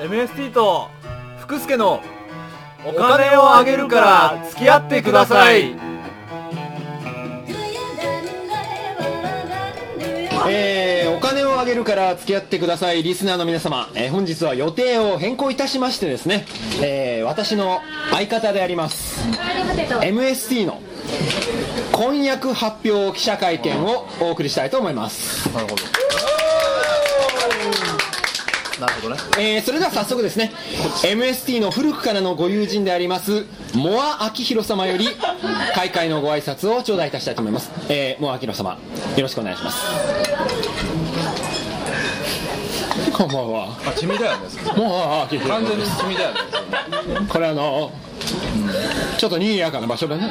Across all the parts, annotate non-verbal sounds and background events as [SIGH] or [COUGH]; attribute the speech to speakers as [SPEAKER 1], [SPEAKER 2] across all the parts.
[SPEAKER 1] MST と福助のお金をあげるから付き合ってください
[SPEAKER 2] えーお金をあげるから付き合ってくださいリスナーの皆様、えー本日は予定を変更いたしましてですね、えー私の相方であります MST の婚約発表記者会見をお送りしたいと思います
[SPEAKER 1] なるほどなるほどね
[SPEAKER 2] えーそれでは早速ですね MST の古くからのご友人でありますモアアキヒロ様より開会のご挨拶を頂戴いたしたいと思います、えー、モアアキヒロ様よろしくお願いしますこんばんは
[SPEAKER 1] あ地味だよね
[SPEAKER 2] モアアキヒロ
[SPEAKER 1] 完
[SPEAKER 2] で
[SPEAKER 1] 全
[SPEAKER 2] す
[SPEAKER 1] に地味だよね
[SPEAKER 2] これあのちょっと賑やかな場所でね、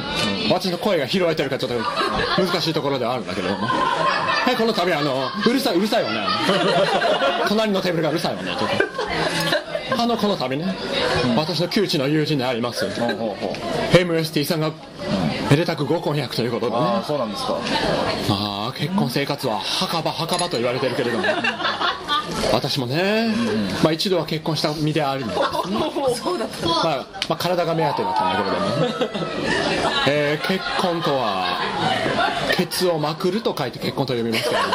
[SPEAKER 2] 私の声が拾えてるかちょっと難しいところではあるんだけども、はい、この度あのうるさいうるさいわねあの隣のテーブルがうるさいわねちょっとあのこの度ね、私の旧知の友人であります、
[SPEAKER 1] ほうほう
[SPEAKER 2] MST さんがめでたくご婚約ということでね
[SPEAKER 1] ああそうなんですか
[SPEAKER 2] まあ結婚生活は墓場墓場と言われてるけれども [LAUGHS] 私もね、まあ、一度は結婚した身であります、まあまあ、体が目当てだったん [LAUGHS] だけれども、えー結婚とはケツをまくると書いて結婚と呼びます [LAUGHS] けれども、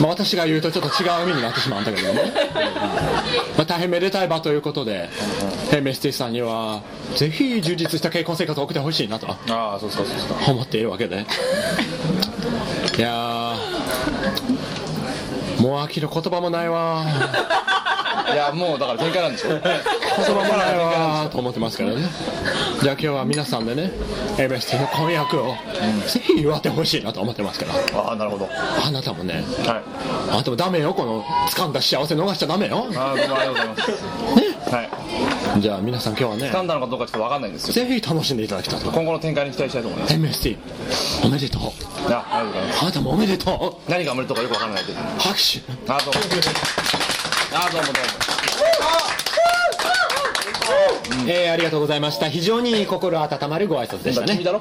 [SPEAKER 2] まあ、私が言うとちょっと違う意味になってしまうんだけど [LAUGHS] ね、まあ、大変めでたい場ということで、えーメスティさんにはぜひ充実した結婚生活を送ってほしいなと
[SPEAKER 1] ああそうそうそうそう
[SPEAKER 2] 思っているわけでいやーもう秋の言葉もないわ
[SPEAKER 1] いやもうだから展開なんですよ
[SPEAKER 2] 言葉もないわと思ってますからねじゃあ今日は皆さんでね MST の婚約をぜひ祝ってほしいなと思ってますから
[SPEAKER 1] ああなるほどはい
[SPEAKER 2] あなたもね
[SPEAKER 1] あ
[SPEAKER 2] あなたもダメよこの掴んだ幸せ逃しちゃダメよ
[SPEAKER 1] あどうもありがとうございますはい
[SPEAKER 2] じゃあ皆さん今日は
[SPEAKER 1] 掴
[SPEAKER 2] ね
[SPEAKER 1] んだのかどうかちょっとわかんないんですよ
[SPEAKER 2] ぜひ楽しんでいただきたいと
[SPEAKER 1] 今後の展開に期待したいと思います
[SPEAKER 2] MST おめでとう
[SPEAKER 1] あありがとうございます
[SPEAKER 2] あなたもおめでとう
[SPEAKER 1] 何が生まれるとかよくわからないけど
[SPEAKER 2] 拍手
[SPEAKER 1] あどうもあどうもどうも
[SPEAKER 2] えーありがとうございました非常に心温まるご挨拶でしたね
[SPEAKER 1] 君だろ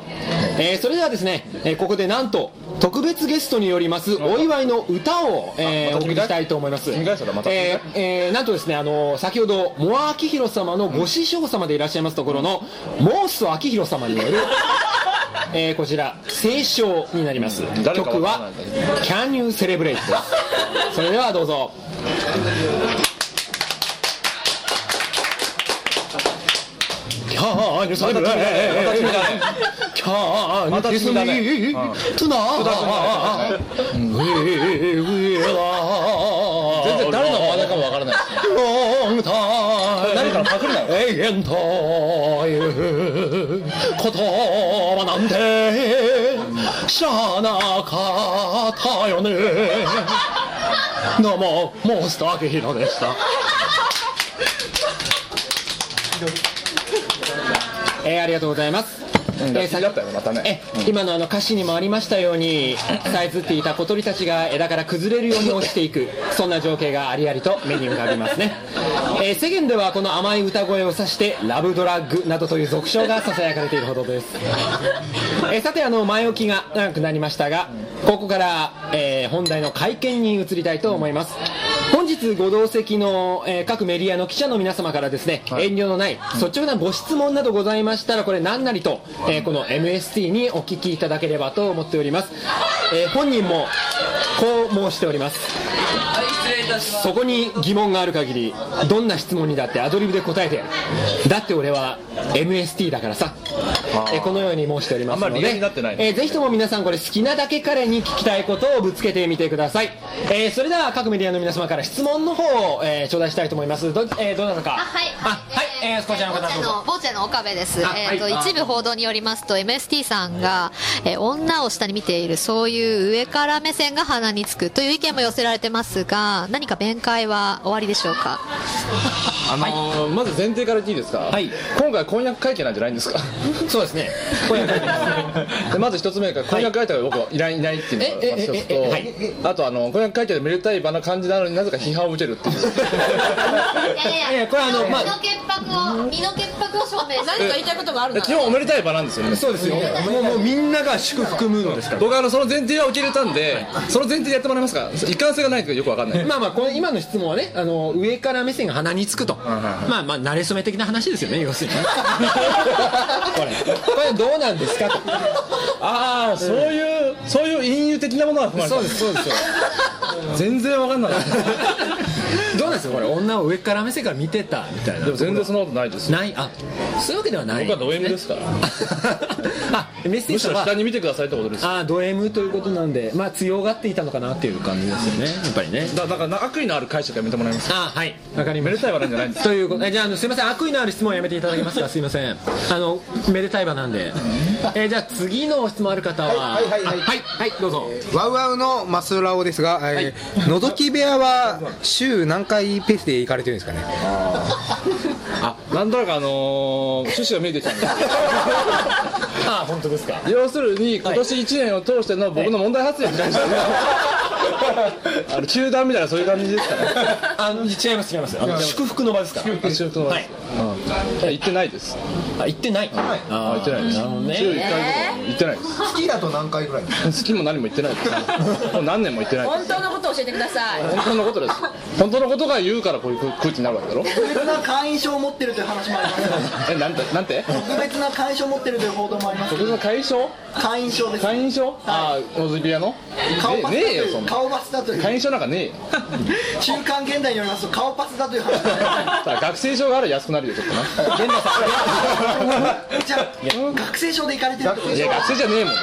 [SPEAKER 2] えーそれではですね、えーここでなんと特別ゲストによりますお祝いの歌を、えー
[SPEAKER 1] また君かい
[SPEAKER 2] お送りしたいと思います、え
[SPEAKER 1] 君かいそれまた君かい
[SPEAKER 2] ーえーなんとですね、あのー先ほどモア・アキヒロ様のご師匠様でいらっしゃいますところの、モースト・アキヒロ様
[SPEAKER 1] [LAUGHS]
[SPEAKER 2] による、えーこちら清唱になります
[SPEAKER 1] 誰か
[SPEAKER 2] 曲
[SPEAKER 1] わからな
[SPEAKER 2] はい
[SPEAKER 1] んだ
[SPEAKER 2] 「
[SPEAKER 1] け
[SPEAKER 2] Can You Celebrate」ですそれではどうぞ「Can You
[SPEAKER 1] また君だねまた
[SPEAKER 2] Celebrate
[SPEAKER 1] 君だね」
[SPEAKER 2] Can you kiss me tonight? We will
[SPEAKER 1] 全然誰の真似かもわからないし
[SPEAKER 2] long time
[SPEAKER 1] 誰からパクるなよ
[SPEAKER 2] 永遠という言葉なんてしゃあなかったよねどうもモンスターアキヒロでしたえーありがとうございます、
[SPEAKER 1] うん
[SPEAKER 2] え
[SPEAKER 1] だ
[SPEAKER 2] ーさ
[SPEAKER 1] だったよねまたね
[SPEAKER 2] え今のあの歌詞にもありましたようにさえずっていた小鳥たちが枝から崩れるように落ちていくそんな情景がありありと目に浮かびますね、えー世間ではこの甘い歌声を指してラブドラッグなどという俗称がささやかれているほどです、えーさてあの前置きが長くなりましたがここから、えー本題の会見に移りたいと思います本日ご同席の、えー各メディアの記者の皆様からですね、
[SPEAKER 1] はい
[SPEAKER 2] 遠慮のない率直なご質問などございましたらこれ何なりと、えーこの MST にお聞きいただければと思っております、えー本人もこう申しております
[SPEAKER 3] はい、失礼いたします。
[SPEAKER 2] そこに疑問がある限りどんな質問にだってアドリブで答えてやるだって俺は MST だからさ
[SPEAKER 1] あー
[SPEAKER 2] えーこのように申しておりますの
[SPEAKER 1] あんま
[SPEAKER 2] で
[SPEAKER 1] り理由になってないね
[SPEAKER 2] えーぜひとも皆さんこれ好きなだけ彼に聞きたいことをぶつけてみてください、えーそれでは各メディアの皆様から質問の方を、えー頂戴したいと思いますど,、えーどなたか
[SPEAKER 4] あはい、
[SPEAKER 2] あはい、えーこちらの方どうぞ
[SPEAKER 4] ボーチェの岡部です、え
[SPEAKER 2] あ
[SPEAKER 4] ーと
[SPEAKER 2] はいあ
[SPEAKER 4] 一部報道によりますと MST さんが、えー女を下に見ているそういう上から目線が鼻につくという意見も寄せられてますが何か弁解は終わりでしょうか
[SPEAKER 2] あのー
[SPEAKER 1] まず前提から言っていいですか、
[SPEAKER 2] はい
[SPEAKER 1] 今回婚約会見なんじゃないんですか
[SPEAKER 2] そうですねこういう感じです
[SPEAKER 1] でまず一つ目が婚約会見が僕はいないいないっていうのが一つと、
[SPEAKER 2] えええ
[SPEAKER 1] あとあの婚約会見でめでたい場な感じなのになぜか批判を受けるっていう
[SPEAKER 2] [LAUGHS]
[SPEAKER 4] いやいやい
[SPEAKER 2] い
[SPEAKER 4] や
[SPEAKER 2] やこれあのまあ
[SPEAKER 4] 身の潔白を身の潔白を証明す
[SPEAKER 5] 何か言いたいことがあるなら
[SPEAKER 1] 基本おめでたい場なんですよね
[SPEAKER 2] そうですよもうもうみんなが祝福ムードですから
[SPEAKER 1] 僕はあのその前提は受け入れたんで、その前提でやってもらえますか一貫性がないとよくわかんな
[SPEAKER 2] [LAUGHS]
[SPEAKER 1] い
[SPEAKER 2] まあまあこの今の質問はねあの上から目線が鼻につくとまあまあ慣れ初め的な話ですよね要
[SPEAKER 1] [LAUGHS]
[SPEAKER 2] するにこれこれどうなんですかと
[SPEAKER 1] ああそういう、そういう隠喩的なものは含まれて
[SPEAKER 2] そ
[SPEAKER 1] る
[SPEAKER 2] うですそうですよ
[SPEAKER 1] [LAUGHS] 全然わかんない
[SPEAKER 2] どうなんですかこれ女を上から目線から見てたみたいな
[SPEAKER 1] でも全然そんなことないですよ
[SPEAKER 2] ないあそういうわけではない
[SPEAKER 1] 僕はド M ですから
[SPEAKER 2] あメッセー
[SPEAKER 1] むし
[SPEAKER 2] ジ
[SPEAKER 1] ろ
[SPEAKER 2] は
[SPEAKER 1] 下に見てくださいってことです
[SPEAKER 2] あード M ということなんでまあ強がっていたのかなっていう感じですよねやっぱりね
[SPEAKER 1] だだから悪意のある解釈は認めてもらえます
[SPEAKER 2] あーはいわかりま
[SPEAKER 1] め
[SPEAKER 2] し
[SPEAKER 1] で
[SPEAKER 2] た
[SPEAKER 1] たい話じゃないんです
[SPEAKER 2] ということえじゃああのすいません悪意のある質問はやめていただけますかすいませんあのめでたい場なんでえじゃあ次の質問ある方は
[SPEAKER 6] はいはいはい
[SPEAKER 2] あはい、はいどうぞ
[SPEAKER 6] ワウワウのマスラオですが、えーのぞき部屋は週何回ペースで行かれてるんですかね
[SPEAKER 1] あなんとなくあのー趣旨が見えてきたんです
[SPEAKER 2] [LAUGHS] あ本当ですか
[SPEAKER 1] 要するに今年1年を通しての僕の問題発言に関してはあの球団みたいなそういう感じですか
[SPEAKER 2] [LAUGHS]
[SPEAKER 1] ら
[SPEAKER 2] あの違います違いますあの祝福の場ですから
[SPEAKER 1] 一応とはい、うん、行ってないです
[SPEAKER 2] あ行ってない
[SPEAKER 1] あ
[SPEAKER 2] あ
[SPEAKER 1] 行ってないです
[SPEAKER 2] なるほどね
[SPEAKER 1] 週1回とか行ってないです
[SPEAKER 6] 好きだと何回ぐらい
[SPEAKER 1] 好きも何も言ってないですもう何年も言ってない
[SPEAKER 5] 本当のことを教えてください
[SPEAKER 1] 本当のことです本当のことが言うからこういう空気になるわけだろ
[SPEAKER 7] 特別な会員証を持ってるという話もありますが
[SPEAKER 1] えなんてなんて
[SPEAKER 7] 特別な会員証を持ってるという報道もあります
[SPEAKER 1] 特別な会証
[SPEAKER 7] 会員証です
[SPEAKER 1] 会員証ああ小杉屋の
[SPEAKER 7] 顔
[SPEAKER 1] ね
[SPEAKER 7] パスだと
[SPEAKER 1] ねえよ
[SPEAKER 7] い
[SPEAKER 1] そん
[SPEAKER 7] う
[SPEAKER 1] な
[SPEAKER 7] 顔パスだという
[SPEAKER 1] 会員証なんかねえよ
[SPEAKER 7] 中間現代によりますと顔パスだという
[SPEAKER 1] [LAUGHS]
[SPEAKER 7] 話
[SPEAKER 1] さあ学生証があれば安くなるよちょっとな
[SPEAKER 7] じゃあ学生証で行かれてるってこと
[SPEAKER 1] いや学生じゃねえもんだ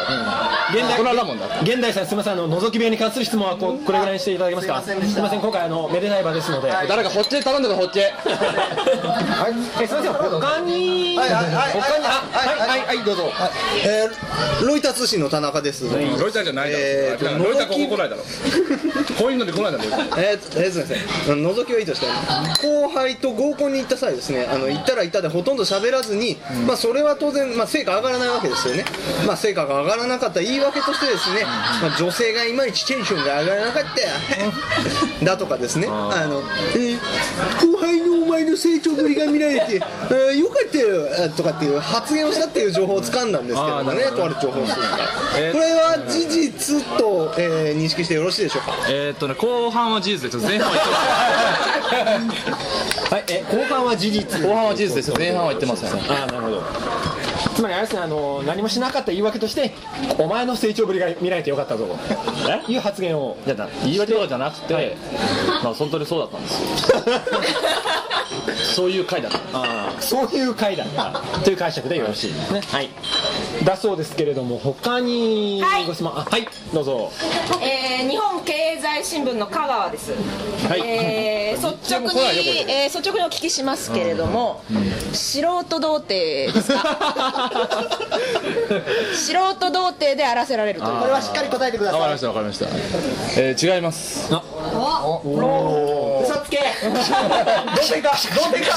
[SPEAKER 2] 現代
[SPEAKER 1] これはラモンだ
[SPEAKER 2] 現代さんすみませんあの覗き部屋に関する質問はここれぐらいにしていただけますか
[SPEAKER 7] すいませんでした
[SPEAKER 2] みません今回あのめでたい場ですので
[SPEAKER 1] 誰かホッチェ頼んでくれホッチェ
[SPEAKER 6] はい
[SPEAKER 2] えすみません他に
[SPEAKER 8] はいはいはい
[SPEAKER 2] 他にあ
[SPEAKER 8] はいはいはいどうぞ、えーロイター通信の田中です、
[SPEAKER 1] ロイターじゃないだろ、
[SPEAKER 8] えー
[SPEAKER 1] ロイターここ来ないだろこういうので来ないだろロイター
[SPEAKER 8] えー、えーすいません覗きはいいとして後輩と合コンに行った際ですねあの行ったら行ったでほとんど喋らずに、まあ、それは当然、まあ、成果上がらないわけですよね、まあ、成果が上がらなかった言い訳としてですね、まあ、女性がいまいちテンションが上がらなか [LAUGHS] っただとかですねあの、えー後輩のお前の成長ぶりが見られて、えーよかったよえーとかっていう発言をしたっていう情報を掴んだんですけどもねとある情報数から、これは事実と、えー認識してよろしいでしょうか
[SPEAKER 1] えー、っとね後半は事実ですよ前半は言ってま
[SPEAKER 2] はいえ後半は事実
[SPEAKER 1] せん [LAUGHS] 後半は事実ですよ前半は言ってません
[SPEAKER 2] あーなるほどつまりあれですねあの何もしなかった言い訳としてお前の成長ぶりが見られてよかったぞという発言を
[SPEAKER 1] いやだ言い訳とかじゃなくて、まあ本当にそうだったんです [LAUGHS] よそういう回だった
[SPEAKER 2] そういう回だったという解釈でよろしいですねはいだそうですけれども他に
[SPEAKER 5] はい
[SPEAKER 2] ご質問あはいどうぞ
[SPEAKER 5] えー日本経済新聞の香川です、
[SPEAKER 1] い
[SPEAKER 5] えー率直に、えー率直にお聞きしますけれども、素人童貞で
[SPEAKER 7] [LAUGHS]
[SPEAKER 5] すか素人童貞であらせられるという
[SPEAKER 7] これはしっかり答えてくだ
[SPEAKER 1] わかり
[SPEAKER 7] さい
[SPEAKER 1] ましたわかりました、えー違います
[SPEAKER 7] 嘘つけどうでかどうでか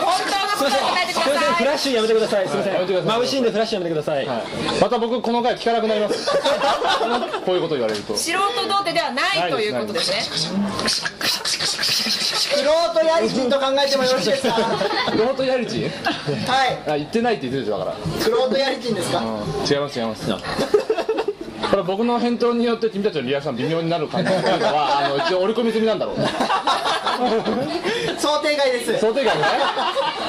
[SPEAKER 5] 本当のことを答えてくだ
[SPEAKER 2] すいません
[SPEAKER 5] さ
[SPEAKER 2] フ
[SPEAKER 5] い
[SPEAKER 2] ラッシュやめてくださいすいません
[SPEAKER 1] やめてください
[SPEAKER 2] 眩しいんでフラッシュやめてください
[SPEAKER 1] また僕この回聞かなくなります [LAUGHS] こういうこと言われると
[SPEAKER 5] 素人童貞ではないということですね
[SPEAKER 7] 素人やりきんと考えてもよろしい
[SPEAKER 8] [LAUGHS]
[SPEAKER 7] ですかは
[SPEAKER 1] ロートやりち
[SPEAKER 7] い
[SPEAKER 1] あ言ってないって言ってるでしょだから
[SPEAKER 7] 素人やりきんです
[SPEAKER 8] [LAUGHS]
[SPEAKER 7] か
[SPEAKER 1] 違います違いますこれ僕の返答によって君たちのリアクション微妙になる感じっていうのはあの一応織り込み済みなんだろうね
[SPEAKER 7] 想定外です
[SPEAKER 1] 想定外ね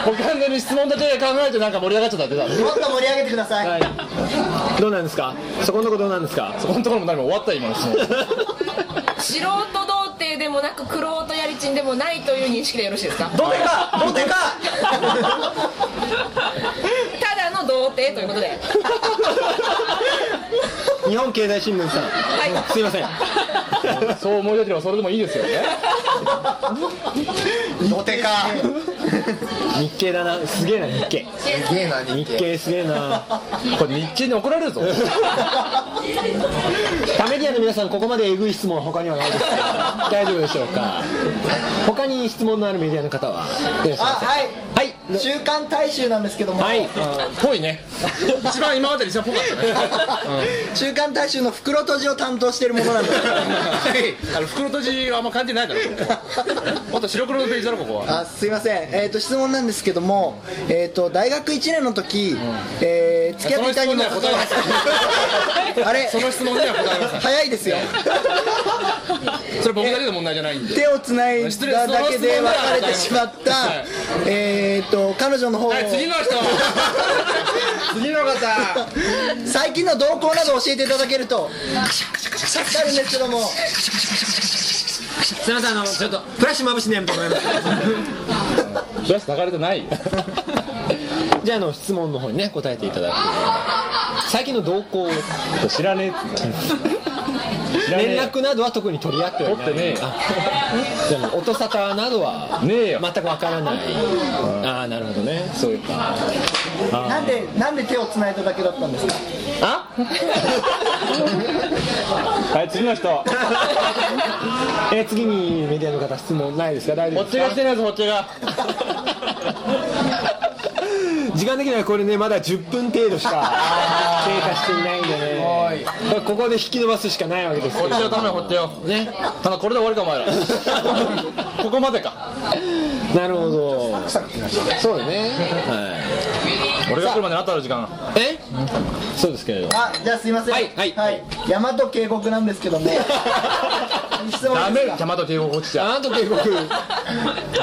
[SPEAKER 1] 僕完全に質問だけ考えてなんか盛り上がっちゃったってだ
[SPEAKER 7] もっと盛り上げてください
[SPEAKER 2] どうなんですかそこのとこどうなんですか
[SPEAKER 1] そこのところも何も終わった今の質問
[SPEAKER 5] 素人童貞でもなくクロートやりちんでもないという認識でよろしいですか
[SPEAKER 7] どうでかどうでか
[SPEAKER 5] ただの童貞ということで
[SPEAKER 2] 日本経済新聞さん、
[SPEAKER 5] い
[SPEAKER 2] すいません
[SPEAKER 1] そう思い出ければそれでもいいですよね
[SPEAKER 6] モテか
[SPEAKER 2] 日経だなすげえな日経
[SPEAKER 6] すげえな日
[SPEAKER 2] 日経すげえな
[SPEAKER 1] これ日経に怒られるぞ
[SPEAKER 2] タメディアの皆さんここまでえぐい質問は他にはないですけど大丈夫でしょうか他に質問のあるメディアの方はいらっし
[SPEAKER 8] あ
[SPEAKER 2] ゃいます
[SPEAKER 8] はい
[SPEAKER 2] はい
[SPEAKER 8] 週刊大衆なんですけども、
[SPEAKER 2] はいぽいね一番今までで一番ぽかったね
[SPEAKER 8] 週刊大衆の袋閉じを担当してるものな
[SPEAKER 2] [LAUGHS]
[SPEAKER 8] んです
[SPEAKER 2] はいあの袋閉じはあんま関係ないからもっと白黒のページだろここは
[SPEAKER 8] あすいません、えー、と質問なんですけども、えー、と大学1年の時、えー付き合っていたにも
[SPEAKER 2] その質問には答
[SPEAKER 8] あれ
[SPEAKER 2] その質問には答えません
[SPEAKER 8] 早いですよ
[SPEAKER 2] それ僕だけの問題じゃないんで
[SPEAKER 8] 手をつないだだけで別れてしまった、
[SPEAKER 2] はい
[SPEAKER 8] えー、と彼女の方を、
[SPEAKER 2] はい次の人
[SPEAKER 1] [LAUGHS]
[SPEAKER 9] 次の方
[SPEAKER 8] 最近の動向など教えていただけると助かるんですけども
[SPEAKER 2] すいませんあのちょっと
[SPEAKER 6] フラッシュまぶしねんと思います
[SPEAKER 1] それは流れてないよ
[SPEAKER 2] じゃああの質問の方にね答えていただく最近の動向
[SPEAKER 1] 知らねえっつって
[SPEAKER 2] 連絡などは特に取り合ってはいない
[SPEAKER 1] 取ってねえ
[SPEAKER 2] あでも音沙汰などは
[SPEAKER 1] ねえよ
[SPEAKER 2] 全くわからないああなるほどねそういうか
[SPEAKER 8] なんでなんで手をつないだだけだったんですか
[SPEAKER 2] あ
[SPEAKER 1] はい次の人
[SPEAKER 2] えー次にメディアの方質問ないですか大丈
[SPEAKER 1] こ
[SPEAKER 2] 夫で
[SPEAKER 1] っち
[SPEAKER 2] す
[SPEAKER 1] が
[SPEAKER 2] か
[SPEAKER 1] してないぞこっちが
[SPEAKER 2] 時間的にはこれねまだ10分程度
[SPEAKER 1] [LAUGHS]
[SPEAKER 2] しか経過していないんでねここで引き伸ばすしかないわけですけ
[SPEAKER 1] こ
[SPEAKER 2] ど
[SPEAKER 1] っちのためこっちよ
[SPEAKER 2] ね
[SPEAKER 1] ただこれで終わりかお [LAUGHS] 前らここまでか
[SPEAKER 2] なるほどそうだねは
[SPEAKER 1] 俺が来るまでにあとある時間
[SPEAKER 2] いえそうですけれど
[SPEAKER 8] あじゃあすいません
[SPEAKER 2] はいはい
[SPEAKER 8] 大和渓谷なんですけども
[SPEAKER 2] [LAUGHS]
[SPEAKER 8] 質問
[SPEAKER 1] ダ
[SPEAKER 8] いい
[SPEAKER 1] メ
[SPEAKER 8] ですか
[SPEAKER 1] 邪魔と帝国落ちちゃ
[SPEAKER 2] あなた警告
[SPEAKER 1] [LAUGHS]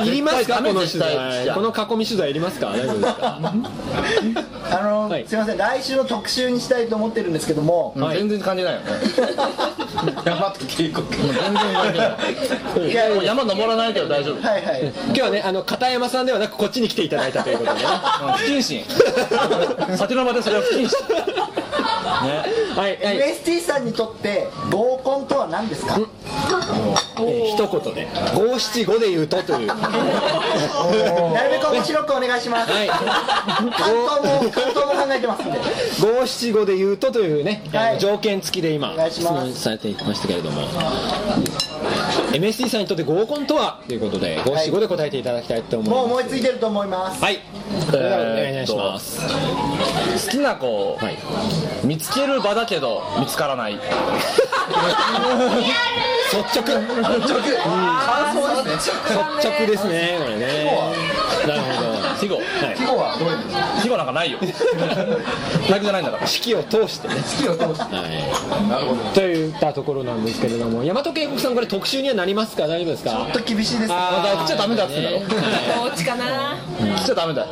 [SPEAKER 2] いりますか
[SPEAKER 1] 絶対ダメ
[SPEAKER 2] この取
[SPEAKER 1] 絶対
[SPEAKER 2] 材この囲み取材いりますか大丈夫ですか
[SPEAKER 8] あの、
[SPEAKER 2] はい
[SPEAKER 8] すいません来週の特集にしたいと思ってるんですけども、
[SPEAKER 1] う全然感じないよね山と帝国全然関係ない
[SPEAKER 8] いやいや
[SPEAKER 1] もう山登らないけど大丈夫
[SPEAKER 8] はいはい
[SPEAKER 2] 今日はねあの片山さんではなくこっちに来ていただいたということでね
[SPEAKER 1] 不
[SPEAKER 2] [LAUGHS]
[SPEAKER 1] 謹慎酒の場でそれは不謹慎
[SPEAKER 2] はい、はい
[SPEAKER 8] MST さんにとって合コンとは何ですか
[SPEAKER 2] 一言で五七五で言うとという
[SPEAKER 8] なるべく面白くお願いします、
[SPEAKER 2] はい
[SPEAKER 8] 関東も関東も考えてますんで
[SPEAKER 2] 五七五で言うとというね、
[SPEAKER 8] はい
[SPEAKER 2] あの条件付きで今
[SPEAKER 8] お願いし
[SPEAKER 2] 質
[SPEAKER 8] ます
[SPEAKER 2] 問されていましたけれども MST さんにとって合コンとはということで五七五で答えていただきたいと思い
[SPEAKER 8] もう
[SPEAKER 2] ます
[SPEAKER 8] 思いついてると思います
[SPEAKER 2] はいそれではお願いします
[SPEAKER 1] 好きな子を
[SPEAKER 2] はい
[SPEAKER 1] 見つける場だけど見つからない
[SPEAKER 2] 率直率直ですねこれねなるほど
[SPEAKER 1] 季語
[SPEAKER 2] はい
[SPEAKER 1] 季語なんか [LAUGHS] ないよライブじゃないんだから
[SPEAKER 2] 式を通してね式を通して、はい、といったところなんですけれども大和渓谷さんこれ特集にはなりますか大丈夫ですか
[SPEAKER 8] ちょっと厳しいです
[SPEAKER 2] あー
[SPEAKER 1] また来ちゃダメだっつってんだろ
[SPEAKER 2] ね
[SPEAKER 5] おうちかな
[SPEAKER 1] 来ちゃダメだよ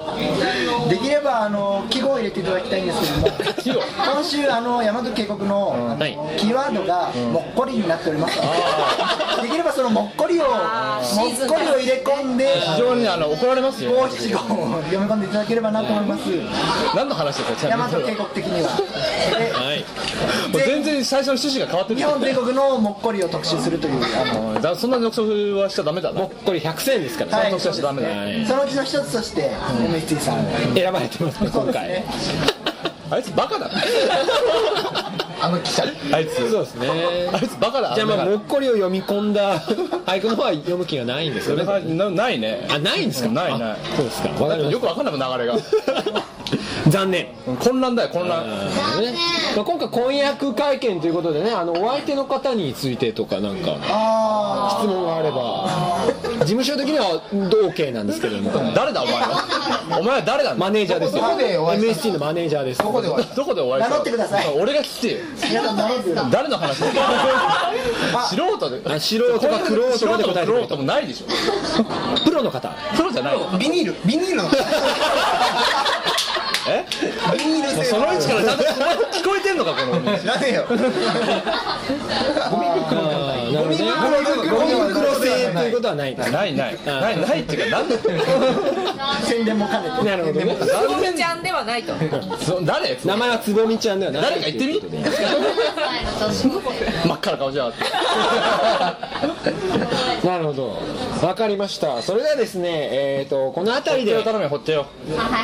[SPEAKER 8] できればあの記号を入れていただきたいんですけども
[SPEAKER 1] 季語
[SPEAKER 8] 今週あの大和渓谷の
[SPEAKER 2] はい
[SPEAKER 8] キーワードがもっこりになっておりますのでできればそのもっこりをもっこりを入れ込んで
[SPEAKER 1] 非常にあの怒られますよ
[SPEAKER 8] 五七五を読み込んでいただければなと思います
[SPEAKER 1] 何の話だこっち
[SPEAKER 8] 大
[SPEAKER 1] は
[SPEAKER 8] 和渓谷的にはで
[SPEAKER 2] はい
[SPEAKER 1] もう全然最初の趣旨が変わってる
[SPEAKER 8] 日本全国のもっこりを特集するというあの
[SPEAKER 1] うんだそんな独足はしちゃダメだな
[SPEAKER 2] もうこれ100選ですからね、
[SPEAKER 8] はい
[SPEAKER 1] 独足はしちゃダメだよ
[SPEAKER 8] そのうちの一つとして MST さん
[SPEAKER 2] 選ばれてますね
[SPEAKER 8] そう
[SPEAKER 2] 今
[SPEAKER 8] ですね
[SPEAKER 2] 回
[SPEAKER 1] あいつバカ
[SPEAKER 2] [LAUGHS]
[SPEAKER 1] だなあの記者あいつ
[SPEAKER 2] そうですね
[SPEAKER 1] あいつバカだ
[SPEAKER 2] じゃあまあ
[SPEAKER 1] だか
[SPEAKER 2] も
[SPEAKER 1] ら
[SPEAKER 2] っこりを読み込んだ [LAUGHS] 俳句の方は読む気がないんですよね
[SPEAKER 1] ななないね
[SPEAKER 2] あないんですか
[SPEAKER 1] ないない
[SPEAKER 2] あそうですかわかりま
[SPEAKER 1] よ
[SPEAKER 2] し
[SPEAKER 1] くわかんなく流れが
[SPEAKER 2] た [LAUGHS] 残念
[SPEAKER 1] 混乱だよ混乱
[SPEAKER 2] ねまあ今回婚約会見ということでねあのお相手の方についてとかなんか質問があれば事務所的には同 OK なんですけれども
[SPEAKER 1] 誰だお前はお前は誰だ
[SPEAKER 2] マネージャーですよ
[SPEAKER 8] どこでお会いした
[SPEAKER 2] MST のマネージャーですここで
[SPEAKER 1] どこで終わり
[SPEAKER 8] 名乗ってください
[SPEAKER 1] 俺が聞きてえよ
[SPEAKER 8] 皆さん何 [LAUGHS] ですか
[SPEAKER 1] 誰
[SPEAKER 2] [LAUGHS]
[SPEAKER 1] の話だよ素人で
[SPEAKER 2] あ素人か
[SPEAKER 1] こういう
[SPEAKER 2] 玄人かで答えてくれ
[SPEAKER 1] 素人も玄人もないでしょ
[SPEAKER 2] プロの方
[SPEAKER 1] プロじゃないよ
[SPEAKER 6] ビニールビニール [LAUGHS] の
[SPEAKER 1] えもうその位置からちゃんと聞こえてんのかこの
[SPEAKER 6] 知らねえよ
[SPEAKER 2] あーなるほどね
[SPEAKER 6] ゴミ
[SPEAKER 2] ゴミ
[SPEAKER 6] 袋
[SPEAKER 2] 袋製ということはないな
[SPEAKER 1] ないないないないっていうかなんで
[SPEAKER 8] 宣伝も兼ねて
[SPEAKER 2] るほどね
[SPEAKER 5] おうちゃんではないと
[SPEAKER 1] そ誰
[SPEAKER 2] [LAUGHS] 名前はつぼみちゃんではない
[SPEAKER 1] 誰か言ってみ
[SPEAKER 2] ということで
[SPEAKER 1] 真っ赤な顔じゃって
[SPEAKER 2] なるほどわかりましたそれではですねえっ、とこの辺りで
[SPEAKER 1] 頼むよ、ほっちよ。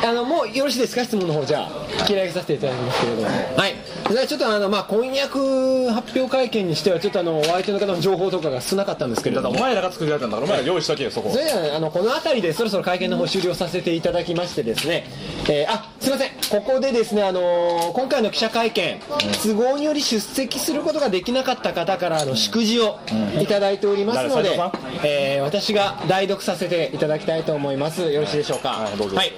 [SPEAKER 2] あのもうよろしいですか質問の方じゃあ聞き上げさせていただきますけれどもはいじゃあちょっとあのまあ婚約発表会見にしてはちょっとあのお相手の方の情報とかが少なかったんですけれ
[SPEAKER 1] だ
[SPEAKER 2] ど
[SPEAKER 1] から
[SPEAKER 2] も
[SPEAKER 1] お前らが作り上げたんだから、お前ら用意しとけよ、そこ
[SPEAKER 2] そ。れではあのこの辺りでそろそろ会見の方終了させていただきましてですね、えーあすいませんここでですねあのー今回の記者会見都合により出席することができなかった方からあの祝辞をいただいておりますので、
[SPEAKER 1] 誰斉
[SPEAKER 2] えー私が代読させていただきたいと思いますよろしいでしょうか
[SPEAKER 1] はいどうぞ
[SPEAKER 2] はい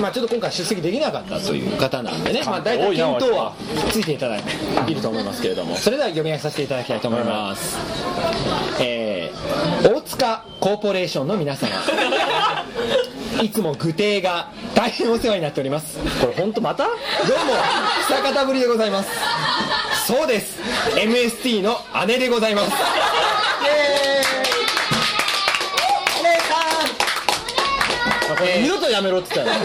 [SPEAKER 2] まあちょっと今回出席できなかったという方なんでねまあ大
[SPEAKER 1] 多
[SPEAKER 2] 体
[SPEAKER 1] いな
[SPEAKER 2] 検討はついていただいていると思いますけれどもそれでは読み上げさせていただきたいと思います、えー大塚コーポレーションの皆
[SPEAKER 1] [LAUGHS]
[SPEAKER 2] 様いつも具体が大変お世話になっておりますどうも
[SPEAKER 1] これ本当また
[SPEAKER 2] 久方ぶりでございますそうです MST の姉でございますえー二度とやめろって言ったよ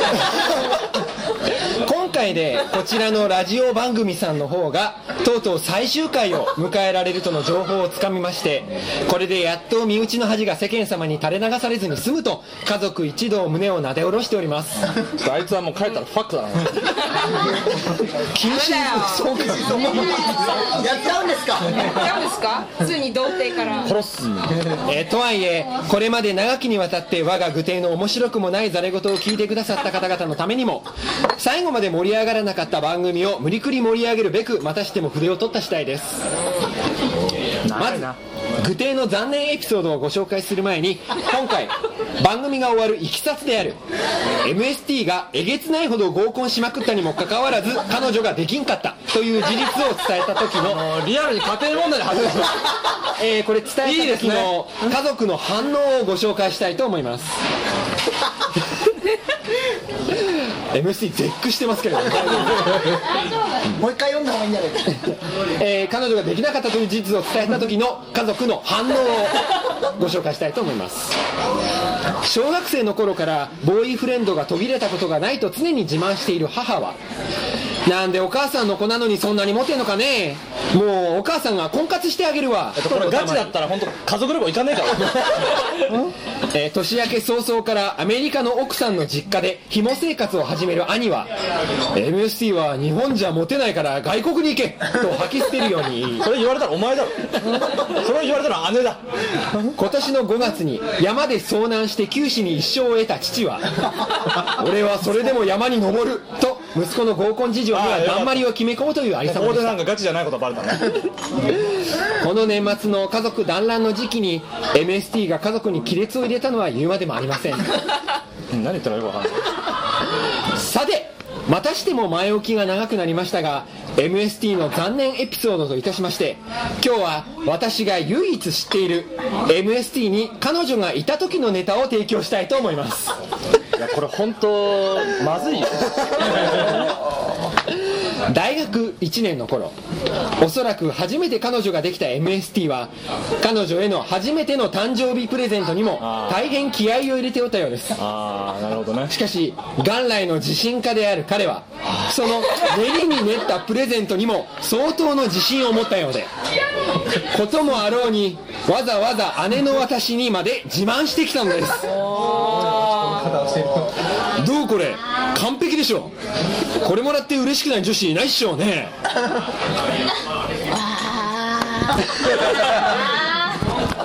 [SPEAKER 2] 今回でこちらのラジオ番組さんの方がとうとう最終回を迎えられるとの情報をつかみましてこれでやっと身内の恥が世間様に垂れ流されずに済むと家族一同胸をなで下ろしております
[SPEAKER 1] ちょっとあいつはもう帰ったらファックだな。
[SPEAKER 2] 禁止そうか
[SPEAKER 8] やっちゃうんですか
[SPEAKER 5] やるんですかついに童貞から
[SPEAKER 1] 殺す。
[SPEAKER 2] えーとはいえこれまで長きにわたって我が具体の面白くもないざれ言を聞いてくださった方々のためにも最後まで盛り上がらなかった番組を無理くり盛り上げるべくまたしても筆を取った次第ですまず具体の残念エピソードをご紹介する前に今回番組が終わるいきさつである MST がえげつないほど合コンしまくったにもかかわらず彼女ができんかったという事実を伝えた時の
[SPEAKER 1] リアルに家庭問題で外す。
[SPEAKER 2] えーこれ伝
[SPEAKER 1] いい
[SPEAKER 2] え
[SPEAKER 1] で
[SPEAKER 2] た
[SPEAKER 1] す
[SPEAKER 2] 時
[SPEAKER 1] ね
[SPEAKER 2] の家族の反応をご紹介したいと思います [LAUGHS] MC 絶句してますけれども、
[SPEAKER 8] [LAUGHS] もう一回読んだ方がいいんじゃないか
[SPEAKER 2] [LAUGHS] えー彼女ができなかったという事実を伝えた時の家族の反応をご紹介したいと思います小学生の頃からボーイフレンドが途切れたことがないと常に自慢している母はなんでお母さんの子なのにそんなにモテんのかねもうお母さんが婚活してあげるわ
[SPEAKER 1] これガチだったら本当家族旅行行かねえから。
[SPEAKER 2] えー年明け早々からアメリカの奥さんの実家で紐生活を始める兄は MST は日本じゃモテないから外国に行けと吐き捨てるように言い
[SPEAKER 1] [LAUGHS] それ言われたらお前
[SPEAKER 2] [LAUGHS]
[SPEAKER 1] だろ。それ言われたら姉だ。
[SPEAKER 2] 今年の5月に山で遭難して九死に一生を得た父は俺はそれでも山に登ると息子の合コン事情にはだんまりを決め込むというありさ
[SPEAKER 1] こ
[SPEAKER 2] ま
[SPEAKER 1] こ
[SPEAKER 2] でし
[SPEAKER 1] でな
[SPEAKER 2] た
[SPEAKER 1] んかガチじゃないことはバレたね。
[SPEAKER 2] この年末の家族団らんの時期に MST が家族に亀裂を入れたのは言うまでもありません
[SPEAKER 1] うん何言ってるのかよくわかんない。
[SPEAKER 2] さてまたしても前置きが長くなりましたが MST の残念エピソードといたしまして今日は私が唯一知っている MST に彼女がいた時のネタを提供したいと思います
[SPEAKER 1] いやこれ本当まずいよ。
[SPEAKER 2] 大学1年の頃おそらく初めて彼女ができた MST は彼女への初めての誕生日プレゼントにも大変気合を入れておったようです
[SPEAKER 1] ああなるほどね。
[SPEAKER 2] しかし元来の自信家である彼はその練りに練ったプレゼントにも相当の自信を持ったようでこともあろうにわざわざ姉の私にまで自慢してきたのですどうこれ完璧でしょこれもらって嬉しくない女子いないっしょうね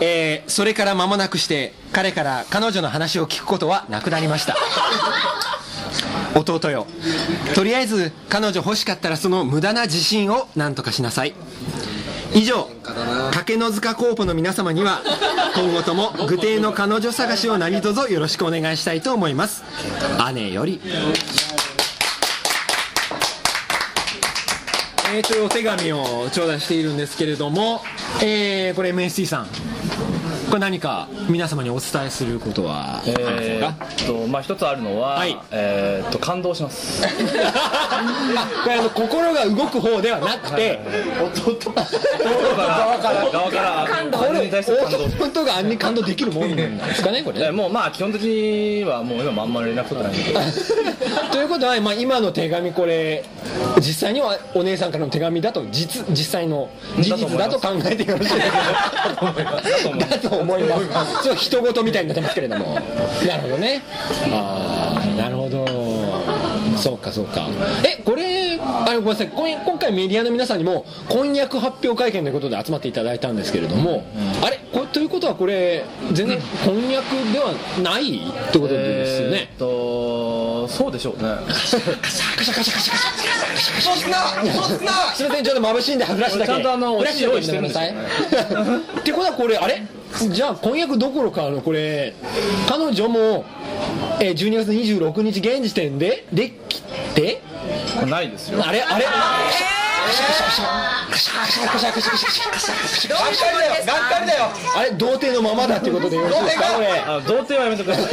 [SPEAKER 2] えーそれから間もなくして彼から彼女の話を聞くことはなくなりました弟よとりあえず彼女欲しかったらその無駄な自信を何とかしなさい以上竹の塚コーポの皆様には今後とも具体の彼女探しを何卒よろしくお願いしたいと思います姉よりえー、というお手紙を頂戴しているんですけれども、えー、これ MSC さんこれ何か皆様にお伝えすることはありません
[SPEAKER 1] え
[SPEAKER 2] か、
[SPEAKER 1] ーっとまあ一つあるのは、
[SPEAKER 2] はい
[SPEAKER 1] えーっと感動します。
[SPEAKER 2] あこれあの心が動く方ではなくて
[SPEAKER 1] 側から側から感動に対して感動。
[SPEAKER 2] 弟があんなに感動できるもんなんですかねこれ
[SPEAKER 1] えもうまあ基本的にはもう今もあんまり連絡取ってないんだけど。
[SPEAKER 2] [LAUGHS] ということは、まあ、今の手紙これ実際にはお姉さんからの手紙だと実実際の事実だと考えてよろしいですか
[SPEAKER 1] だ
[SPEAKER 2] だと
[SPEAKER 1] と思います
[SPEAKER 2] 思います。ちょっと人事みたいになってますけれども。なるほどね。ああ、なるほど。そうかそうか。え、これ、あれごめんなさい、こん今回メディアの皆さんにも、婚約発表会見ということで集まっていただいたんですけれども、あれこれということはこれ、全然婚約ではないってことですよね。
[SPEAKER 1] えーっとそうでしょうね
[SPEAKER 2] そんな、そんな。すみません、ちょっと眩しいんで歯ブラシだけ。
[SPEAKER 1] ちゃんとあの
[SPEAKER 2] ブラシだけしてください。
[SPEAKER 1] お
[SPEAKER 2] ってことはこれあれ？じゃあ婚約どころかあのこれ彼女も、えー、12月26日現時点でできて
[SPEAKER 1] ないですよ
[SPEAKER 2] あれあれ。あれ童貞のままだっていうことでよろしいですかこれ
[SPEAKER 1] あ童貞はやめてください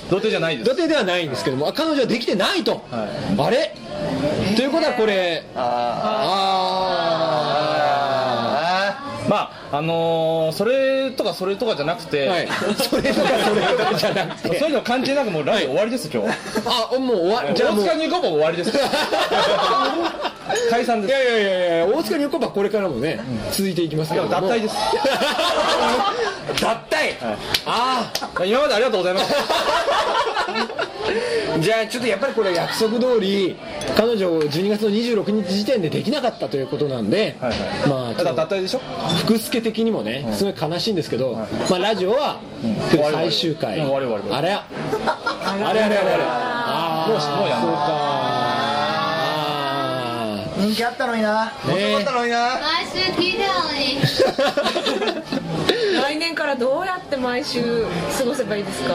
[SPEAKER 1] [LAUGHS] 童貞じゃないです
[SPEAKER 2] 童貞ではないんですけどもあ彼女はできてないと、あれということはこれああ
[SPEAKER 1] まああのーそれとかそれとかじゃなくて、
[SPEAKER 2] はい、 [LAUGHS] それとかそれとかじゃなく
[SPEAKER 1] そうい
[SPEAKER 2] て
[SPEAKER 1] うの関係なくもうライブ終わりです今日
[SPEAKER 2] あもう終わ
[SPEAKER 1] じ
[SPEAKER 2] じゃ
[SPEAKER 1] ゃ
[SPEAKER 2] あ
[SPEAKER 1] あ
[SPEAKER 2] もう
[SPEAKER 1] 大塚に行こうも終わりです解散
[SPEAKER 2] い
[SPEAKER 1] です
[SPEAKER 2] やいやいやいや大塚に行こばこれからもね、続いていきますけども
[SPEAKER 1] いや脱退です
[SPEAKER 2] 脱退、あ
[SPEAKER 1] 今までありがとうございます
[SPEAKER 2] あじゃあちょっとやっぱりこれ約束通り彼女を12月の26日時点でできなかったということなんで、
[SPEAKER 1] はいは
[SPEAKER 2] まあちょ
[SPEAKER 1] た
[SPEAKER 2] っ
[SPEAKER 1] だ
[SPEAKER 2] と
[SPEAKER 1] 脱退でしょ
[SPEAKER 2] 福助的にもねすごい悲しいんですけど、まあ、ラジオは
[SPEAKER 1] 終わり
[SPEAKER 2] 最終回、
[SPEAKER 1] うん終わり終わり終わ
[SPEAKER 2] あれやあれあれあれあれあ
[SPEAKER 1] もうしもうやんない
[SPEAKER 2] あー
[SPEAKER 8] 人気あったのにな
[SPEAKER 2] そうかねえ
[SPEAKER 8] のにな
[SPEAKER 4] 毎週聞いてたのに
[SPEAKER 1] [LAUGHS]
[SPEAKER 5] 来年からどうやって毎週過ごせばいいですか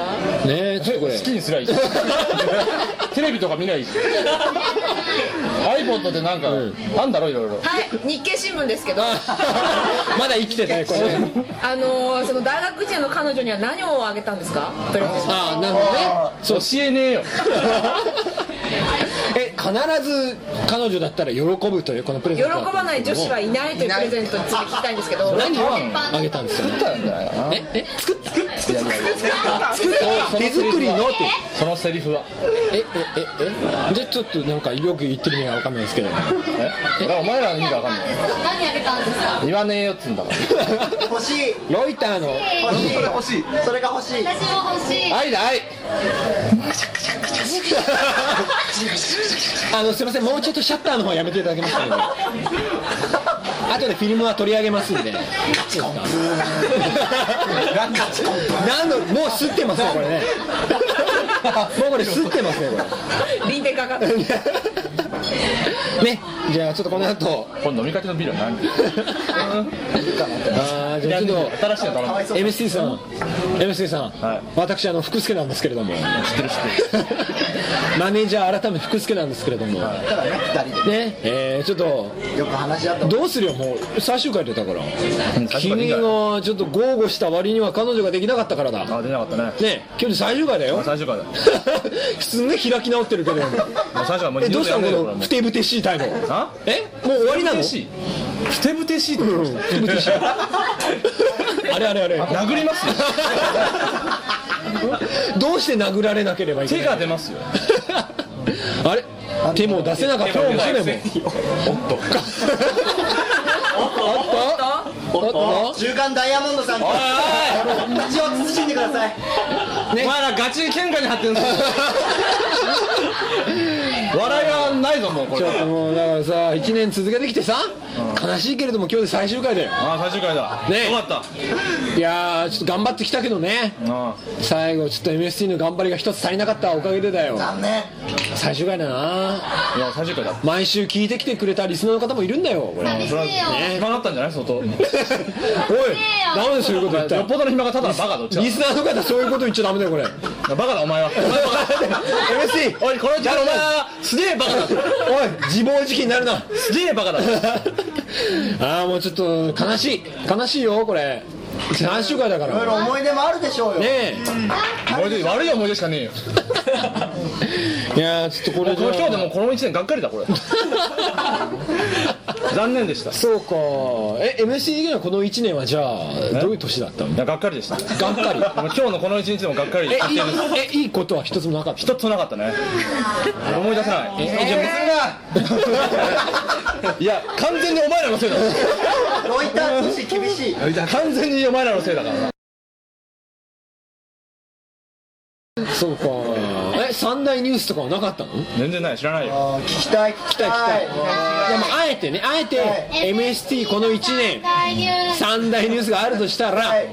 [SPEAKER 2] ねえちょっとこれ
[SPEAKER 1] 好きにすりゃいいし [LAUGHS] テレビとか見りゃいいし iPod でなんか、あんだろいろいろ
[SPEAKER 5] はい日経新聞ですけど
[SPEAKER 2] [LAUGHS] まだ生きてたねこれ
[SPEAKER 5] [LAUGHS] あのーその大学時代の彼女には何をあげたんですかプレゼント
[SPEAKER 2] ああなるほどね
[SPEAKER 1] 教えねえよ
[SPEAKER 2] [LAUGHS] え必ず彼女だったら喜ぶというこのプレゼ
[SPEAKER 5] 喜
[SPEAKER 2] ント
[SPEAKER 5] ばない女子はいないというプレゼントについて聞きたいんですけど
[SPEAKER 2] 何をあげたんですかねええ作った作った手作りのって
[SPEAKER 1] そのセリフは
[SPEAKER 2] ええええじゃあちょっとなんかよく言ってる意味がわかんないです [LAUGHS] けど
[SPEAKER 1] えお前らの意味が分かんない
[SPEAKER 4] 何やるかんですか
[SPEAKER 1] 言わねえよっつうんだから
[SPEAKER 8] 欲しい
[SPEAKER 2] ロイターの
[SPEAKER 8] 欲しいそれ欲しいそれが欲しい
[SPEAKER 4] 私も欲しい
[SPEAKER 2] 愛だ [LAUGHS] 愛あのすいませんもうちょっとシャッターの方やめていただけますかね [LAUGHS] 後でフィルムは取り上げますんでなんのもう吸ってますねこれ [LAUGHS] ねもうこれ吸ってますねこ
[SPEAKER 5] 臨転かかってる
[SPEAKER 2] れねじゃあちょっとこの後
[SPEAKER 1] 今度飲みかけのビールは何
[SPEAKER 2] あーじゃあちょっ
[SPEAKER 1] 新しいの頼む
[SPEAKER 2] と MC さん MC さん、
[SPEAKER 1] はい
[SPEAKER 2] 私あの福助なんですけれども
[SPEAKER 1] 知ってる知ってる
[SPEAKER 2] マネージャー改め福助なんですけれども、
[SPEAKER 8] だからね二人
[SPEAKER 2] ねえーちょっと
[SPEAKER 8] でよく話し合った
[SPEAKER 2] どうするよもう最終回出たから君がち
[SPEAKER 1] の
[SPEAKER 2] ょっと豪語した割には彼女ができなかったからだ
[SPEAKER 1] あ出なかったね
[SPEAKER 2] ね今日で最終回だよ
[SPEAKER 1] 最初からもう
[SPEAKER 2] [LAUGHS] すんげえ開き直ってるけど
[SPEAKER 1] 最初はもう
[SPEAKER 2] え
[SPEAKER 1] 二
[SPEAKER 2] ど
[SPEAKER 1] 度
[SPEAKER 2] うした
[SPEAKER 1] とやん
[SPEAKER 2] の
[SPEAKER 1] ねえ
[SPEAKER 2] こ
[SPEAKER 1] よこれ
[SPEAKER 2] の
[SPEAKER 1] はもう
[SPEAKER 2] ふてぶてしい態度
[SPEAKER 1] あ
[SPEAKER 2] えもう終わりなの
[SPEAKER 1] ふてぶてしいふてぶてしいって言いました
[SPEAKER 2] ふてぶてし
[SPEAKER 1] [LAUGHS]
[SPEAKER 2] いあれあれあれ
[SPEAKER 1] 殴りますよ
[SPEAKER 2] どうして殴られなければいけ
[SPEAKER 1] 手
[SPEAKER 2] な
[SPEAKER 1] が
[SPEAKER 2] い
[SPEAKER 1] 出ますよ
[SPEAKER 2] あれ手も出せなかったんですねもうおっとおっとおっと
[SPEAKER 8] 中間ダイヤモンドさん口を慎んでください
[SPEAKER 1] お前らガチ喧嘩に張ってんぞ笑いはないぞもうこ
[SPEAKER 2] ち
[SPEAKER 1] れ
[SPEAKER 2] ょっともうだからさ1年続けてきてさ悲しいけれども今日で最終回だよ
[SPEAKER 1] ああ最終回だ
[SPEAKER 2] ね
[SPEAKER 1] よかった
[SPEAKER 2] いやーちょっと頑張ってきたけどね
[SPEAKER 1] あ
[SPEAKER 2] 最後ちょっと MST の頑張りが一つ足りなかったおかげでだよ
[SPEAKER 8] 残念
[SPEAKER 2] 最終回だない
[SPEAKER 1] や最終回だ
[SPEAKER 2] 毎週聞いてきてくれたリスナーの方もいるんだよこれ
[SPEAKER 4] 寂しいよ
[SPEAKER 1] 暇だったんじゃない相当 [LAUGHS] よ
[SPEAKER 2] おいなんでそういうこと言った
[SPEAKER 1] っぽどの暇がただのバカだうち
[SPEAKER 2] リ
[SPEAKER 1] は
[SPEAKER 2] スナーの方そういうこと言っちゃダメだよこれ
[SPEAKER 1] バカだお前 [LAUGHS] は
[SPEAKER 2] MST
[SPEAKER 1] おいこの時間お前すげえバカだ
[SPEAKER 2] おい自暴自棄になるな
[SPEAKER 1] すげえバカだ
[SPEAKER 2] [LAUGHS] ああもうちょっと悲しい悲しいよこれ最終回だか
[SPEAKER 8] いろ
[SPEAKER 2] ら
[SPEAKER 8] いろ思い出もあるでしょうよ
[SPEAKER 2] ね
[SPEAKER 1] 思い出悪い思い出しかねえよ
[SPEAKER 2] えいやーちょっとこれじゃ
[SPEAKER 1] 今
[SPEAKER 2] あ
[SPEAKER 1] 日でもこの1年がっかりだこれ [LAUGHS] 残念でしたい
[SPEAKER 2] そうかえ MC 的にはこの1年はじゃあどういう年だったの
[SPEAKER 1] やがっかりでしたも
[SPEAKER 2] がっかり
[SPEAKER 1] う今日のこの1日でもがっかり
[SPEAKER 2] え
[SPEAKER 1] で
[SPEAKER 2] いいえいいことは一つもなかった
[SPEAKER 1] 一つもなかった [LAUGHS] ね思い出せないえじゃあ別にないや完全にお前らのせいだ
[SPEAKER 8] ロイター通信厳し
[SPEAKER 1] [LAUGHS]
[SPEAKER 8] い
[SPEAKER 1] 完全にお前らのせいだからな
[SPEAKER 2] そうかえ三大ニュースとかはなかったの
[SPEAKER 1] 全然ない知らないよ
[SPEAKER 8] 聞きたい聞き
[SPEAKER 2] 来た
[SPEAKER 8] た
[SPEAKER 2] 来
[SPEAKER 8] い
[SPEAKER 2] たでもあえてねあえて MST この1年三大ニュースがあるとしたらね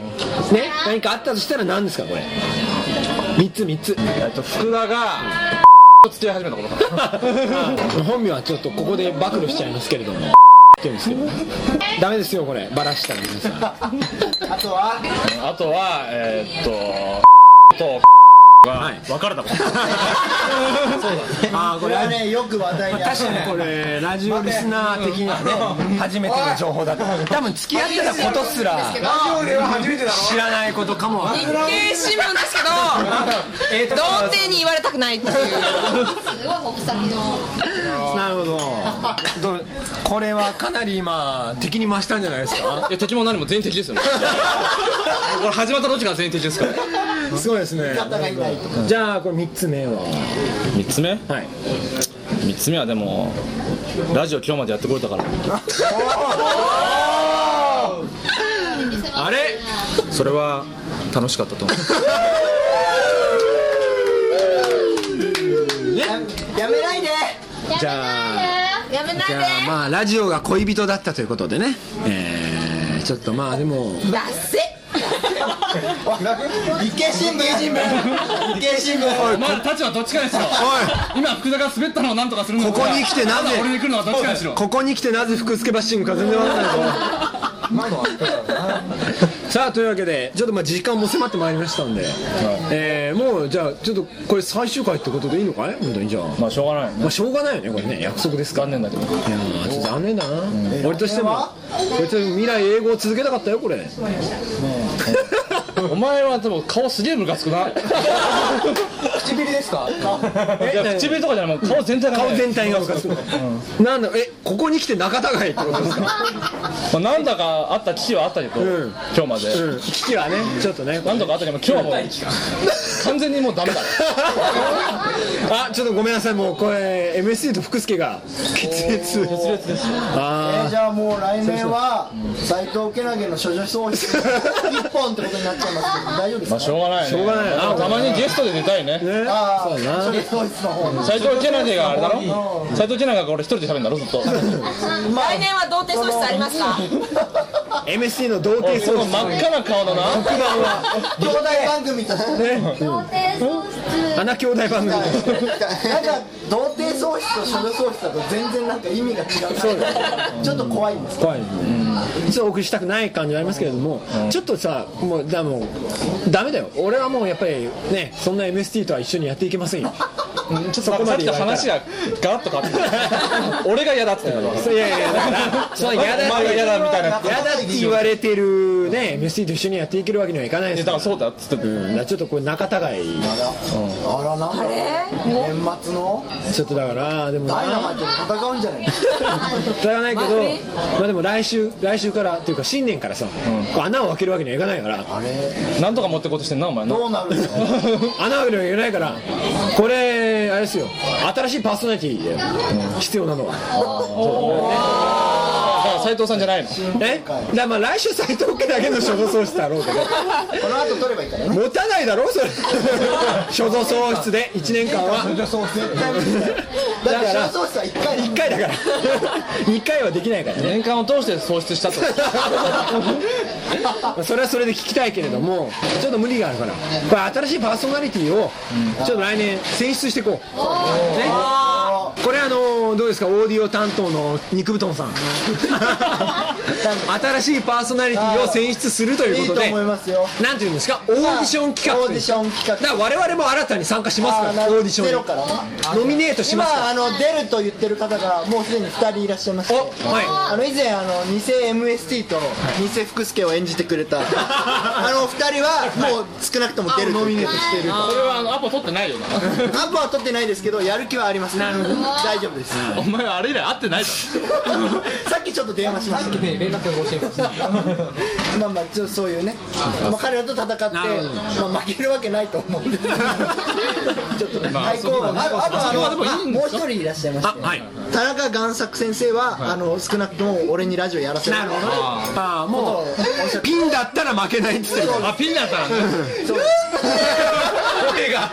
[SPEAKER 2] 何かあったとしたら何ですかこれ3つ3つ
[SPEAKER 1] えっと福田が [LAUGHS] 付き合い始めたことかな
[SPEAKER 2] 本名はちょっとここで暴露しちゃいますけれ [LAUGHS] どもって言うんですけどねダメですよこれバラしたら皆さん
[SPEAKER 8] あとは
[SPEAKER 1] あとはえーっととが別れたこと
[SPEAKER 2] ああ
[SPEAKER 8] これはねよく話題に確か
[SPEAKER 2] これラジオリスナー的にはね初めての情報だった多分付き合ってたことすら
[SPEAKER 8] ラジオでは初めてだろ
[SPEAKER 2] 知らないことかもわからない
[SPEAKER 5] 新聞ですけど童貞に言われたくないっていう
[SPEAKER 4] すごい北先の
[SPEAKER 2] なるほどどうこれはかなり今敵に回したんじゃないですか [LAUGHS]
[SPEAKER 1] いや敵も何も全員敵ですよねこれ始まった時から全員敵ですから
[SPEAKER 2] すごいですねじゃあこれ3つ目は
[SPEAKER 1] 3つ目
[SPEAKER 2] はい
[SPEAKER 1] 3つ目はでもラジオ今日までやってこれたから
[SPEAKER 2] あれ
[SPEAKER 1] それは楽しかったと思う
[SPEAKER 8] やめないで
[SPEAKER 2] じゃあ
[SPEAKER 5] やめない
[SPEAKER 2] じゃあまあラジオが恋人だったということでねえー、ちょっとまあでも
[SPEAKER 5] だせ
[SPEAKER 8] 日経新聞日経新聞
[SPEAKER 1] まだ立場どっちかですよ今福田が滑ったのを何とかするのか
[SPEAKER 2] ここに来てなぜ
[SPEAKER 1] まだ俺に来るのはどっちかにしろ
[SPEAKER 2] ここに来てなぜ福助バッシングか全然わからないぞさあというわけでちょっとまあ時間も迫ってまいりましたんで、えー、もうじゃあちょっとこれ最終回ってことでいいのかい本当にじゃあ
[SPEAKER 1] まあしょうがないね
[SPEAKER 2] まあしょうがないよねこれね約束ですから
[SPEAKER 1] 残念だけど
[SPEAKER 2] いやーちょっと残念だな、俺としても俺としても未来英語を続けたかったよこれ
[SPEAKER 1] お前はでも顔すげえムカつくない
[SPEAKER 8] 唇ですか
[SPEAKER 1] や唇とかじ [LAUGHS] ゃないもう顔全体が、ね、
[SPEAKER 2] 顔全体がムカつくなんだえここに来て仲違いってことですか
[SPEAKER 1] まあ、なんだかあった危機はあったけど、
[SPEAKER 2] ん
[SPEAKER 1] 今日まで、
[SPEAKER 2] うん危機はねちょっとね
[SPEAKER 1] なんとかあったけど今日はもう完全にもうダ
[SPEAKER 2] [LAUGHS]
[SPEAKER 1] メだね
[SPEAKER 2] あちょっとごめんなさいもうこれ MSC と福助が決裂決裂ですあ
[SPEAKER 8] じゃあもう来年は斎藤けなげの処女葬一本ってことになっちゃいますけど大丈夫です
[SPEAKER 1] ま
[SPEAKER 8] か
[SPEAKER 1] あしょうがないね
[SPEAKER 2] しょうがないな
[SPEAKER 1] まあたまにゲストで出たいね
[SPEAKER 2] あね
[SPEAKER 8] ああ
[SPEAKER 2] そうだな
[SPEAKER 8] 処女葬室の方に
[SPEAKER 1] 斎藤けなげがあれだろ斎藤けなげが俺一人で喋るんだろずっと
[SPEAKER 5] 来年は童貞喪失ありますか
[SPEAKER 2] MSC の童貞
[SPEAKER 1] そ
[SPEAKER 2] 喪
[SPEAKER 1] の
[SPEAKER 2] 失
[SPEAKER 1] 真っ赤な顔だな
[SPEAKER 8] 兄弟番組として
[SPEAKER 2] 穴兄弟番組
[SPEAKER 8] なんか童貞喪失と処女喪失だと全然なんか意味が違うちょっと怖いんです
[SPEAKER 2] 怖いねちょっとお送りしたくない感じはありますけれども、ちょっとさもうだもうダメだよ俺はもうやっぱりねそんな MST とは一緒にやっていけませんよ
[SPEAKER 1] ちょっとさっきと話がガラッと変わってた俺が嫌だっつってたから
[SPEAKER 2] そういやいやいやだからそう嫌だ
[SPEAKER 1] お前が嫌だみたいな
[SPEAKER 2] 嫌だって言われてるね MST と一緒にやっていけるわけにはいかないで
[SPEAKER 1] だ
[SPEAKER 2] すからら
[SPEAKER 1] かそうだっつって
[SPEAKER 2] うんだからちょっとこれ仲違い
[SPEAKER 8] あらなんだろう年末の
[SPEAKER 2] ちょっとだからでも
[SPEAKER 8] ダイナマイ
[SPEAKER 2] な
[SPEAKER 8] トで戦うんじゃない
[SPEAKER 2] それはないけどまあでも来週来週からっていうか新年からさ、こう穴を開けるわけにはいかないから [LAUGHS]
[SPEAKER 1] なんとか持ってこうとしてんなお前な
[SPEAKER 8] どうなるの
[SPEAKER 2] 穴を開けるわけにはいかないからこれあれですよ新しいパーソナリティで必要なのは
[SPEAKER 1] だから斎藤さんじゃないの
[SPEAKER 2] えだからまあ来週斎藤家だけの所蔵喪失だろうけど [LAUGHS]
[SPEAKER 8] この後取ればいいからね
[SPEAKER 2] 持たないだろ [LAUGHS] それ所蔵喪失で1年間は
[SPEAKER 8] 絶対無理だよだって処女喪失は1回
[SPEAKER 2] 1回だから2回はできないからね
[SPEAKER 1] 年間を通して喪失したってこと
[SPEAKER 2] まあ [LAUGHS] それはそれで聞きたいけれどもちょっと無理があるからこれ新しいパーソナリティをちょっと来年選出していこう、ね、これあのどうですかオーディオ担当の肉布団
[SPEAKER 8] [LAUGHS]
[SPEAKER 2] さん新しいパーソナリティを選出すると
[SPEAKER 8] い
[SPEAKER 2] いう
[SPEAKER 8] い
[SPEAKER 2] こととで
[SPEAKER 8] 思いますよ
[SPEAKER 2] なんていうんですかオーディション企画
[SPEAKER 8] オーディション企画
[SPEAKER 2] だから我々も新たに参加しますからオーディション
[SPEAKER 8] ゼ
[SPEAKER 2] に
[SPEAKER 8] ロから
[SPEAKER 2] ノミネートし
[SPEAKER 8] 今
[SPEAKER 2] ますから
[SPEAKER 8] あの出ると言ってる方がもうすでに2人いらっしゃいまして
[SPEAKER 2] おはい
[SPEAKER 8] あの以前あの偽 MST と偽福助を演じてくれ
[SPEAKER 2] [LAUGHS]
[SPEAKER 8] たあの2人はもう少なくとも出ると言ってる
[SPEAKER 1] それはあのアポ取ってないよな
[SPEAKER 8] アップは取ってないですけどやる気はありますなるほど大丈夫です
[SPEAKER 1] お前はあれ以来会ってないだ
[SPEAKER 8] [LAUGHS] さっきちょっと電話しました
[SPEAKER 2] 連絡が欲しい
[SPEAKER 8] まあまあちょっとそういうね、まあ、彼らと戦って、まあ、負けるわけ [LAUGHS] ないと思うんでちょっとね対抗馬ああとあのもう一人いらっしゃいまして
[SPEAKER 2] はい
[SPEAKER 8] 田中贋作先生は、あの少なくとも俺にラジオやらせるなるほ
[SPEAKER 2] ああもうピンだったら負けないっつってる
[SPEAKER 1] あピンだったらね声が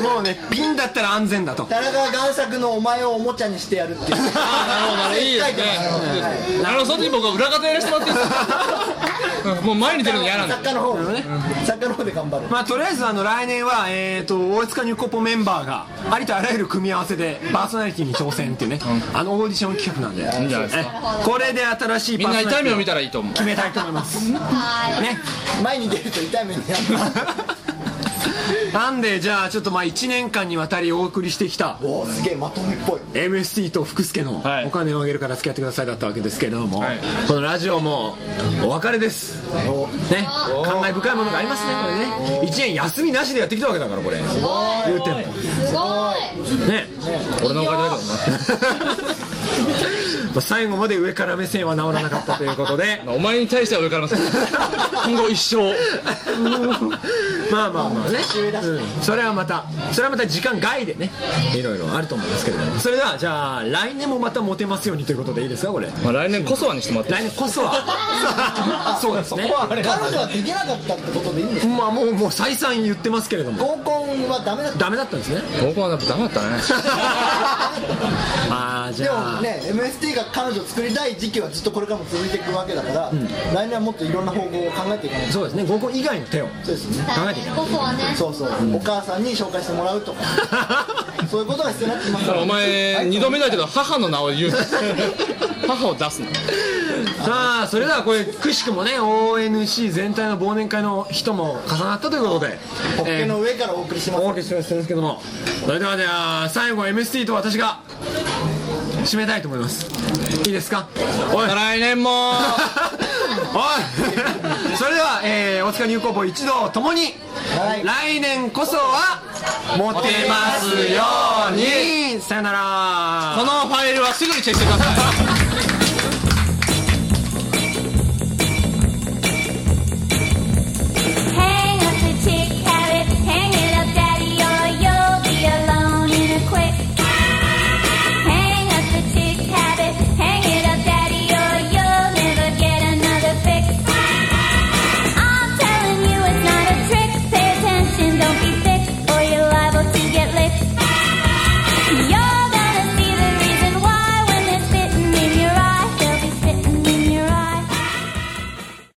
[SPEAKER 2] もうねピンだったら安全だと
[SPEAKER 8] 田中贋作のお前をおもちゃにしてやる [LAUGHS] っていう
[SPEAKER 1] あなるほどねいいですねあのその時僕は裏方やらせてもらっていいですかうんもう前に出るの嫌なんだ
[SPEAKER 8] 作家の方ね作家の方で頑張る
[SPEAKER 2] まあとりあえずあの来年はえーと大塚ニュコポメンバーがありとあらゆる組み合わせでパーソナリティに挑戦っていうねあのオーディション企画なんで
[SPEAKER 1] いいんじゃないですか
[SPEAKER 2] えこれで新しい
[SPEAKER 1] み
[SPEAKER 2] パ
[SPEAKER 1] ん
[SPEAKER 2] ー
[SPEAKER 1] な
[SPEAKER 2] ソナ
[SPEAKER 1] 痛
[SPEAKER 2] リテ
[SPEAKER 1] い目
[SPEAKER 2] ィ
[SPEAKER 1] を見たらいいと思う
[SPEAKER 2] 決めたいと思いますね [LAUGHS]
[SPEAKER 8] 前に出ると痛い目にや [LAUGHS] る
[SPEAKER 2] なんでじゃあちょっとまあ1年間にわたりお送りしてきた
[SPEAKER 8] おおすげえまとめっぽい
[SPEAKER 2] MST と福助の
[SPEAKER 1] は
[SPEAKER 2] 「
[SPEAKER 1] い
[SPEAKER 2] お金をあげるから付き合ってください」だったわけですけれども、
[SPEAKER 1] はい
[SPEAKER 2] このラジオもお別れですね感慨深いものがありますねこれね1年休みなしでやってきたわけだからこれ
[SPEAKER 4] すごい
[SPEAKER 2] 言うても
[SPEAKER 4] すごい
[SPEAKER 2] ね
[SPEAKER 1] 俺のおかげだけどな
[SPEAKER 2] [LAUGHS] まあ最後まで上から目線は治らなかったということで
[SPEAKER 1] お前に対しては上からの今後一生
[SPEAKER 2] [LAUGHS] まあまあまあね、うんそれはまたそれはまた時間外でねいろいろあると思いますけれどもそれではじゃあ来年もまたモテますようにということでいいですかこれ
[SPEAKER 1] まあ来年こそはにしてもらって
[SPEAKER 2] 来年こそはそうですね
[SPEAKER 8] 彼女はできなかったってことでいいんです
[SPEAKER 2] まあもうもう再三言ってますけれども
[SPEAKER 8] 合コンはダメだった
[SPEAKER 2] ダメだったんですね
[SPEAKER 1] 僕はやっぱダメだったね
[SPEAKER 2] ああじ
[SPEAKER 8] で
[SPEAKER 2] ゃ
[SPEAKER 8] も
[SPEAKER 2] あ、
[SPEAKER 8] ね MST が彼女を作りたい時期はずっとこれからも続いていくわけだから、来年はもっといろんな方向を考えていかないと
[SPEAKER 2] そうですね合コン以外の手を
[SPEAKER 8] そうですね
[SPEAKER 2] 考えていかない
[SPEAKER 4] ここはね
[SPEAKER 8] そうそう、お母さんに紹介してもらうとかそういうことが必要になってきます
[SPEAKER 1] だからお前二度目だけど母の名を言うな母を出すな
[SPEAKER 2] [LAUGHS] さあそれではこれくしくもね ONC 全体の忘年会の人も重なったということで、
[SPEAKER 8] ホッケ
[SPEAKER 2] えー
[SPEAKER 8] の上からお送りします
[SPEAKER 2] お分けしてるんですけどもそれではじゃあ最後 MST と私が締めたいと思いますいいですかおいお [LAUGHS] い
[SPEAKER 1] 来年も
[SPEAKER 2] [LAUGHS] それでは、えー、大塚入高校一同ともに、来年こそはモテますようにさよなら
[SPEAKER 1] このファイルはすぐにチェックしてください